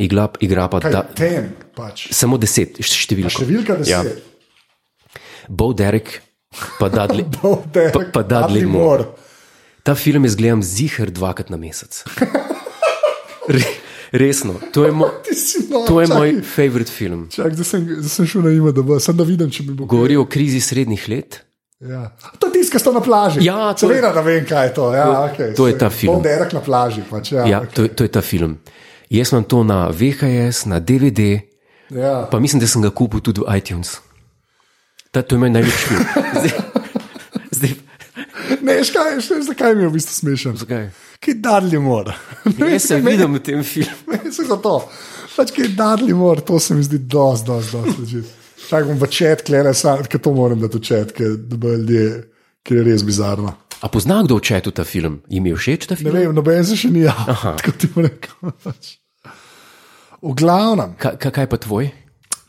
S1: Igla, igra pa
S2: Kaj,
S1: da,
S2: ten, pač.
S1: samo deset, številko.
S2: Številka
S1: Ja.
S2: deset.
S1: Bo Derek, pa Dudley.
S2: Bo Derek,
S1: pa, pa Dudley
S2: Dudley
S1: Moore.
S2: Moore.
S1: Ta film jaz gledam zihar dvakrat na mesec. Re, resno, to je, mo,
S2: Ti si nor,
S1: to je
S2: čakaj.
S1: moj favorit film.
S2: Čak, zdaj sem, zdaj sem šel na ime, da, bo, sem da vidim, če mi bo
S1: Govori o krizi srednjih let.
S2: Ja. To je tisto, kar sta na plaži.
S1: Ja, to je-
S2: Seveda, da vem, kaj je to. Ja, to, okay,
S1: to je ta film.
S2: Poderek na plaži. Pač, ja,
S1: Ja, to, je- to je ta film. Jaz imam to na VHS, na DVD,
S2: ja.
S1: pa mislim, da sem ga kupil tudi v iTunes. Ta, to je moj najljubši film. Zdaj, zdaj,
S2: Ne, veš kaj, veš, veš, zakaj mi je v bistvu smešen?
S1: Zakaj?
S2: Kaj darli mora.
S1: jaz se vidim v tem filmu.
S2: Se za to. Pač kaj darli mora, to se mi zdi dosti, dosti, dosti leži. Čak bom v čet, klele, ker to moram dati v čet, ker da bodo ljudje, ker je res bizarno.
S1: A pozna kdo v četu ta film? Jim je všeč ta
S2: Ne
S1: film?
S2: vem, noben se še ni
S1: Aha.
S2: javil. Tako ti bom rekel. pač. V glavnem,
S1: Ka, ka, kaj pa tvoj?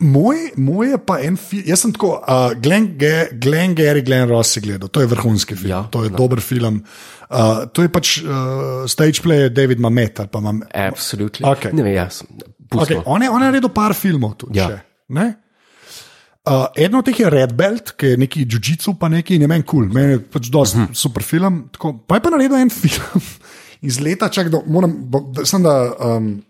S2: moj, moj je pa en film. Jaz sem tako, uh, Glenn, Ge Glenn Gary, Glenn Ross si gledal, to je vrhunski film,
S1: Ja,
S2: ja, to je no. dober film. Uh, to je pač uh, stage play David Mamet ali pa Mamet.
S1: Absolutno.
S2: Okej.
S1: Ne vem, jaz.
S2: Okay,
S1: Pustimo.
S2: on, je, on je naredil par filmov tudi.
S1: Ja.
S2: Ja. Uh, eno od teh je Red Belt, ki je neki jujicu, pa neki ne vem, kul, cool. meni je pač dosti
S1: Mhm.
S2: uh -huh. super film. Tako, pa je pa naredil en film iz leta, čak, da, moram, bo, da, sem, da, um,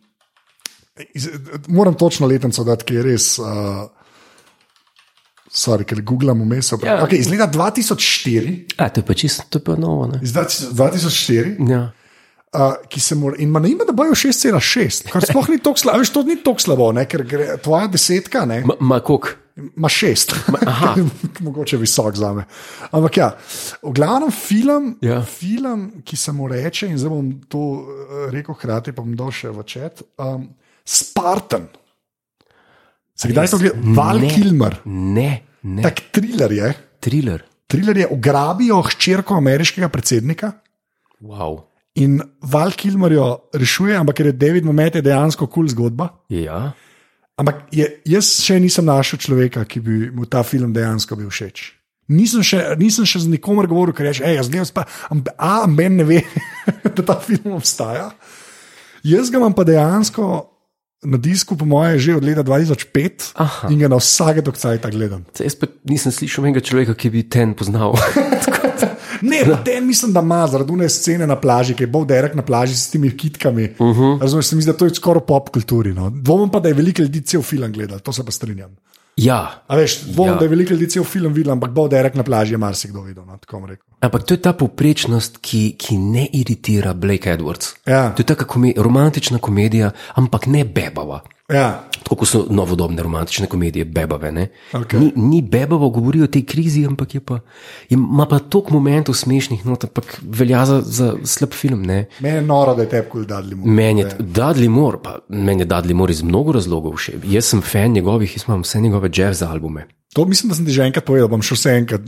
S2: iz, moram točno letnico dati, ki je res. Uh, Sorry, ker googlam vmes.
S1: Ja.
S2: Ja. Okay, iz leta 2004,
S1: A, to je pa čisto, to je pa novo. Ne?
S2: iz 2004
S1: Ja.
S2: Uh, ki se mora, in ima na ime, da bojo 6,6, kar sploh ni tako slabo, veš, to ni tako slabo, ne, ker gre, tvoja desetka ne,
S1: Ma, ma kok.
S2: ima 6,
S1: aha.
S2: mogoče visok za me. Ampak ja, v glavnem film,
S1: Ja.
S2: ja. film, ki se mu reče, in zdaj bom to eh, rekel hkrati, pa bom dal še v čet, um, Spartan. Se kdaj to gre? Val
S1: Ne.
S2: Kilmer,
S1: Ne, ne. Tak.
S2: tak triler je.
S1: Thriller.
S2: Triler je, ugrabijo hčerko ameriškega predsednika.
S1: Wow.
S2: In Val Kilmer jo rešuje, ampak ker je David Mamet je dejansko kul cool zgodba.
S1: Ja.
S2: Ampak je, jaz še nisem našel človeka, ki bi mu ta film dejansko bil všeč. Nisem še, nisem še z nikomer govoril, ker rečeš, hej, jaz gledam spa, ampak a, men ne ve, da ta film obstaja. Jaz ga imam pa dejansko na disku, po moje, že od leta 2005
S1: Aha.
S2: in ga na vsake dokcaj ta gledam.
S1: Saj Jaz pa nisem slišal enega človeka, ki bi ten poznal.
S2: Ne, pa ten mislim, da ima zaradi une scene na plaži, ki je bolj derek na plaži s temi kitkami. Uh -huh. Razumeš, se mi zdi, da to je skoraj pop kulturi. No. Dvomim pa, da je veliko ljudi cel film gledal, to se pa strinjam.
S1: ja.
S2: A veš, dvomim,
S1: Ja.
S2: ja. da je veliko ljudi cel film videl, ampak bolj derek na plaži je marsikdo videl. No, tako bom rekel.
S1: Ampak to je ta povprečnost, ki, ki ne iritira Blake Edwards.
S2: Ja.
S1: To je taka kome, romantična komedija, ampak ne bebava.
S2: Ja,
S1: Tako kot so novodobne romantične komedije, bebave. ne.
S2: Okej.
S1: Ni, ni bebavo, govori o tej krizi, ampak je pa, je, ima pa toliko momentov smešnih, no, ampak velja za, za slab film. Ne?
S2: meni je noro, da je tebi kul dadli mu.
S1: Meni je Dudley Moore, pa meni je Dudley Moore iz mnogo razlogov všeč. Jaz sem fan njegovih, jaz imam vse njegove jazz albume.
S2: To mislim, da sem ti že enkrat povedal, bom še vse enkrat,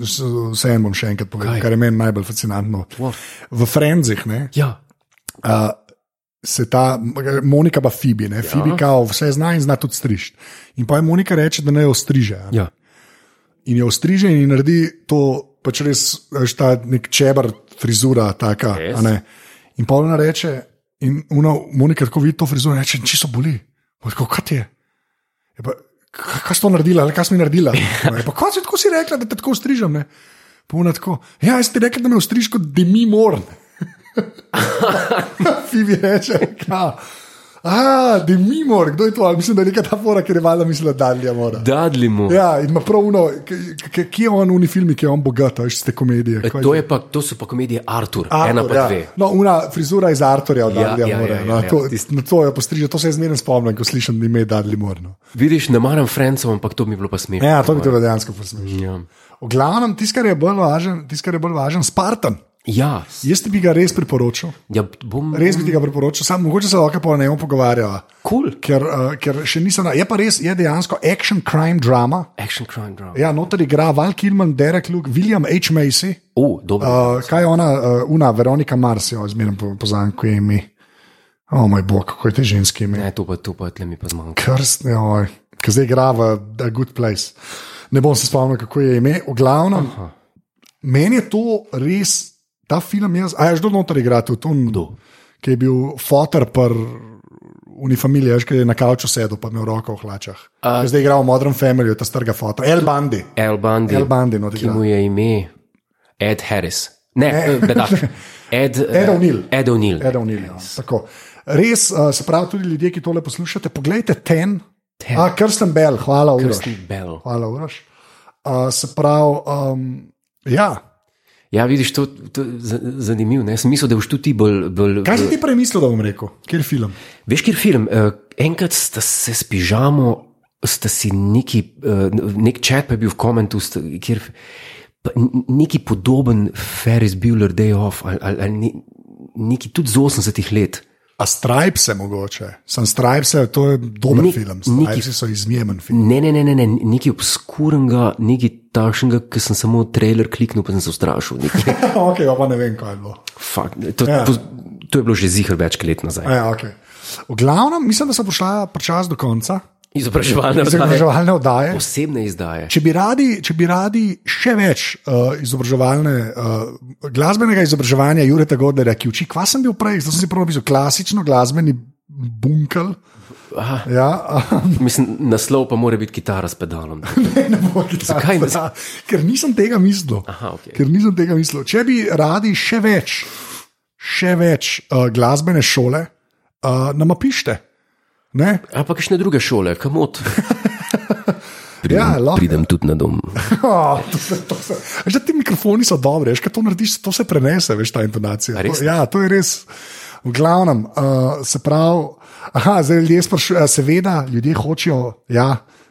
S2: vse en bom še enkrat povedal,
S1: Kaj?
S2: Kaj? kar je meni najbolj fascinantno.
S1: What?
S2: V Frenzih, ne,
S1: Ja,
S2: Uh, se ta Monika pa Fibi, ne, ja. Fibi kao vse zna in zna tudi strižiti. In pa je Monika reče, da ne jo striže. a ne.
S1: ja.
S2: In jo striže in ji naredi to, pač res, veš, ta nek čebr, frizura, taka.
S1: Res?
S2: a ne. In pa ona reče, in ona, Monika tako vidi to frizuro in reče, čisto boli. Pa Tako, kaj ti je? je pa, "Ka- kaj si to naredila, ali kaj si mi naredila? Je Pa, kaj si tako si rekla, da te tako strižem? Ne? Pa ona tako, ja, jaz ti rekla, da me ostriž kot demi moran. Fibi reče, ka. A, demi mor, kdo je to? Ali Mislim, da je neka ta fora, ker je valjda mislila, da je mora.
S1: Dudley Moore.
S2: Ja, in ima prav uno, k- k- kje je on v filmih, ki je on bogat, a veš, iz te komedije.
S1: E,
S2: kaj
S1: To,
S2: že?
S1: je pa, to so pa komedije Artur, Artur ena pa
S2: Arthur,
S1: ja.
S2: ja.
S1: dve.
S2: No, una frizura iz Arturja, od
S1: Ja,
S2: Darlija
S1: ja,
S2: Mora.
S1: ja,
S2: no,
S1: ja, ja.
S2: to- Na to je postrižil, to se jaz zmeraj spomnim, ko slišim ime Darli Morno.
S1: Vidiš, ne maram Francov, ampak to mi je bilo pa smešno.
S2: Ja, to bi te pa dejansko posmešil.
S1: Ja.
S2: V glavnem, tisto, kar je bolj važen, tisto, kar je bolj važen, Spartan.
S1: Ja, s-
S2: Jaz ti bi ga res priporočil,
S1: ja bom
S2: res bi ti ga priporočil, samo mogoče se lahko pa o njem pogovarjava.
S1: Cool.
S2: Ker, uh, ker še nisem, na- je pa res, je dejansko action crime drama.
S1: Action crime drama. Ja.
S2: Ja, noter igra Val Kilman, Derek Luke, William H. Macy.
S1: O, dobro. Uh,
S2: Uh, kaj je ona, uh, una, Veronika Mars, jo zmeraj po- poznam, ko je ime. O moj bog, kako je te ženske ime.
S1: ne, to pa, to pa tle mi pa zmanjka.
S2: Krstne, oj, ki zdaj igra v The Good Place. Ne bom se spomnil, kako je ime. V glavnem, Aha. meni je to res, ta film jaz, a je že dolno ter igrati, to
S1: Kdo?
S2: ki je bil fotor pr. Unifamilija, ki je na kavču sedel, pa imel roko v hlačah. Uh, zdaj igra v Modern Family, ta strga fotor. El Bandi.
S1: El Bundy,
S2: El Bandi, no,
S1: ki mu je ime Ed Harris. Ne, eh, bedak. Ed, eh,
S2: Ed O'Neill.
S1: Ed O'Neill.
S2: Ed O'Neill. ja, tako. Res, uh, se pravi, tudi ljudje, ki tole poslušate, poglejte ten.
S1: Ten.
S2: A, Krsten Bell, hvala, Uroš.
S1: Kristen Bell.
S2: Hvala, Uroš. Uh, se pravi, um, ja.
S1: Ja, vidiš, to je zanimivo. ne. Jaz sem mislil, da boš tudi ti bolj. bolj
S2: Kaj si ti prej mislil, da bom rekel? Kjer film?
S1: Veš, kjer film, uh, enkrat sta se spižamo, sta si neki, uh, nek čat pa je bil v komentu, sta, kjer pa n- neki podoben Ferris Bueller Day Off ali, ali, ali ne- neki tudi z 80-ih let.
S2: A Stripes, mogoče. Sem Stripes, to je dober
S1: Ni-
S2: Ni, film.
S1: Niki-
S2: Stripes so izjemen film.
S1: Ne, ne, ne, ne, ne nekaj obskurnega, nekaj takšnega, ki sem samo trailer kliknil, pa sem se ustrašil. Nekaj,
S2: ok, ja, pa ne vem, kaj je bilo.
S1: fuck, to,
S2: Ja.
S1: ja. po, to je bilo že zihar več kot let nazaj.
S2: A Ja, okay. V glavnem, mislim, da sem prišla počasi do konca
S1: Izobraževalne oddaje.
S2: izobraževalne oddaje.
S1: Posebne izdaje.
S2: Če bi radi, če bi radi še več uh, izobraževalne, uh, glasbenega izobraževanja Jureta Godlerja, ki uči, kva sem bil prej, zdaj sem si prvo pisal klasično glasbeni bunkel.
S1: Aha,
S2: Ja, um,
S1: mislim, naslov pa mora biti kitara s pedalom.
S2: ne bo gitar,
S1: Zakaj ne-
S2: da, ker nisem tega mislil.
S1: Aha, ok.
S2: Ker nisem tega mislil. Če bi radi še več, še več uh, glasbene šole, uh, nam pišite. Ne?
S1: Ali pa kakšne druge šole, kamot. Pridem,
S2: Ja, lahko.
S1: pridem tudi na dom.
S2: Oh, to se, to se. Veš, da ti mikrofoni so dobri, veš, kaj to narediš, to se prenese, veš, ta intonacija.
S1: res?
S2: To, ja, to je res. V glavnem, uh, se pravi, aha, zdaj ljudje sprašujejo, seveda, ljudje hočejo, ja,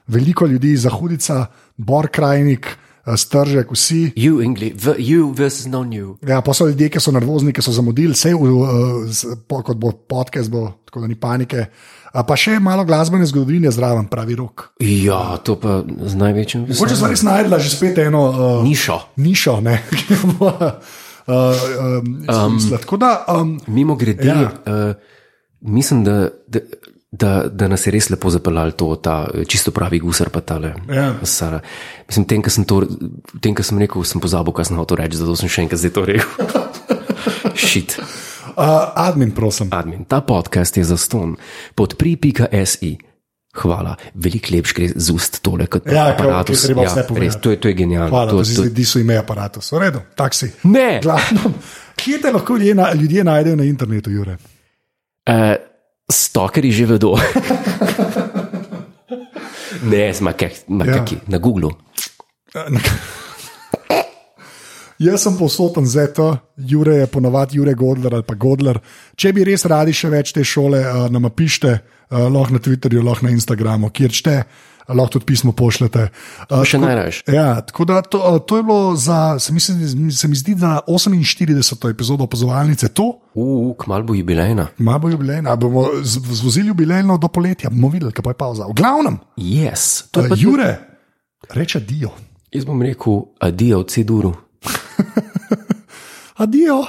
S2: veliko ljudi, zahudica, bor krajnik, eh, stržek, vsi.
S1: You, English, v, you versus non-you.
S2: Ja, pa so ljudje, ki so nervozni, ki so zamudili, vse, kot bo podcast, bo, tako da ni panike. A Pa še malo glasbene zgodovine zraven, pravi rok.
S1: Ja, to pa z največjim
S2: Mogoče sem res najdela že spet eno. Uh,
S1: nišo.
S2: nišo, ne, ki jo bo uh, um, izkoristila. Tako da, um,
S1: Mimo grede,
S2: Ja.
S1: ja. uh, mislim, da, da, da, da nas je res lepo zapeljal to, ta eh, čisto pravi gusar, pa tale.
S2: Ja.
S1: Sara. Mislim, tem, kar sem, to- tem, kar sem rekel, sem pozabil, kaj sem hotel reči, zato sem še enkrat zdaj to rekel. Šit.
S2: uh, admin, prosim.
S1: Admin, ta podcast je za ston. Podpri.si. Hvala, veliko lepš gre z ust tole kot
S2: Ja, ker-
S1: aparatus.
S2: ker je treba vse
S1: res,
S2: povedati.
S1: to je, to je genialno.
S2: Hvala,
S1: to,
S2: da si
S1: to,
S2: zdaj diso ime aparatus. V redu, taksi.
S1: ne!
S2: Glavno, kje te lahko ljudje, na, ljudje najdejo na internetu, Jure?
S1: Uh, Stokeri že vedo. ne, zmakaki, ja. na Googlu.
S2: Eh, na- Jaz sem posoten za to, Jure je ponovadi Jure Godler ali pa Godler. Če bi res radi še več te šole, eh, nam pišite, eh, lahko na Twitterju, lahko na Instagramu, kjer čte, lahko tudi pismo pošljete. Eh,
S1: Še najraš.
S2: Ja, tako da to, to je bilo za, se mi, se, se mi zdi, za 48. epizodo opazovalnice to.
S1: Uf, kmal bo jubilejna.
S2: Malo bo jubilejno, a bomo z- zvozili jubilejno do poletja, bomo videli, kaj pa je pauza. V glavnem,
S1: Yes. To
S2: uh,
S1: je pa ju.
S2: Jure, reče Dio.
S1: Jaz bom rekel, adijo v C-duru.
S2: Adijo.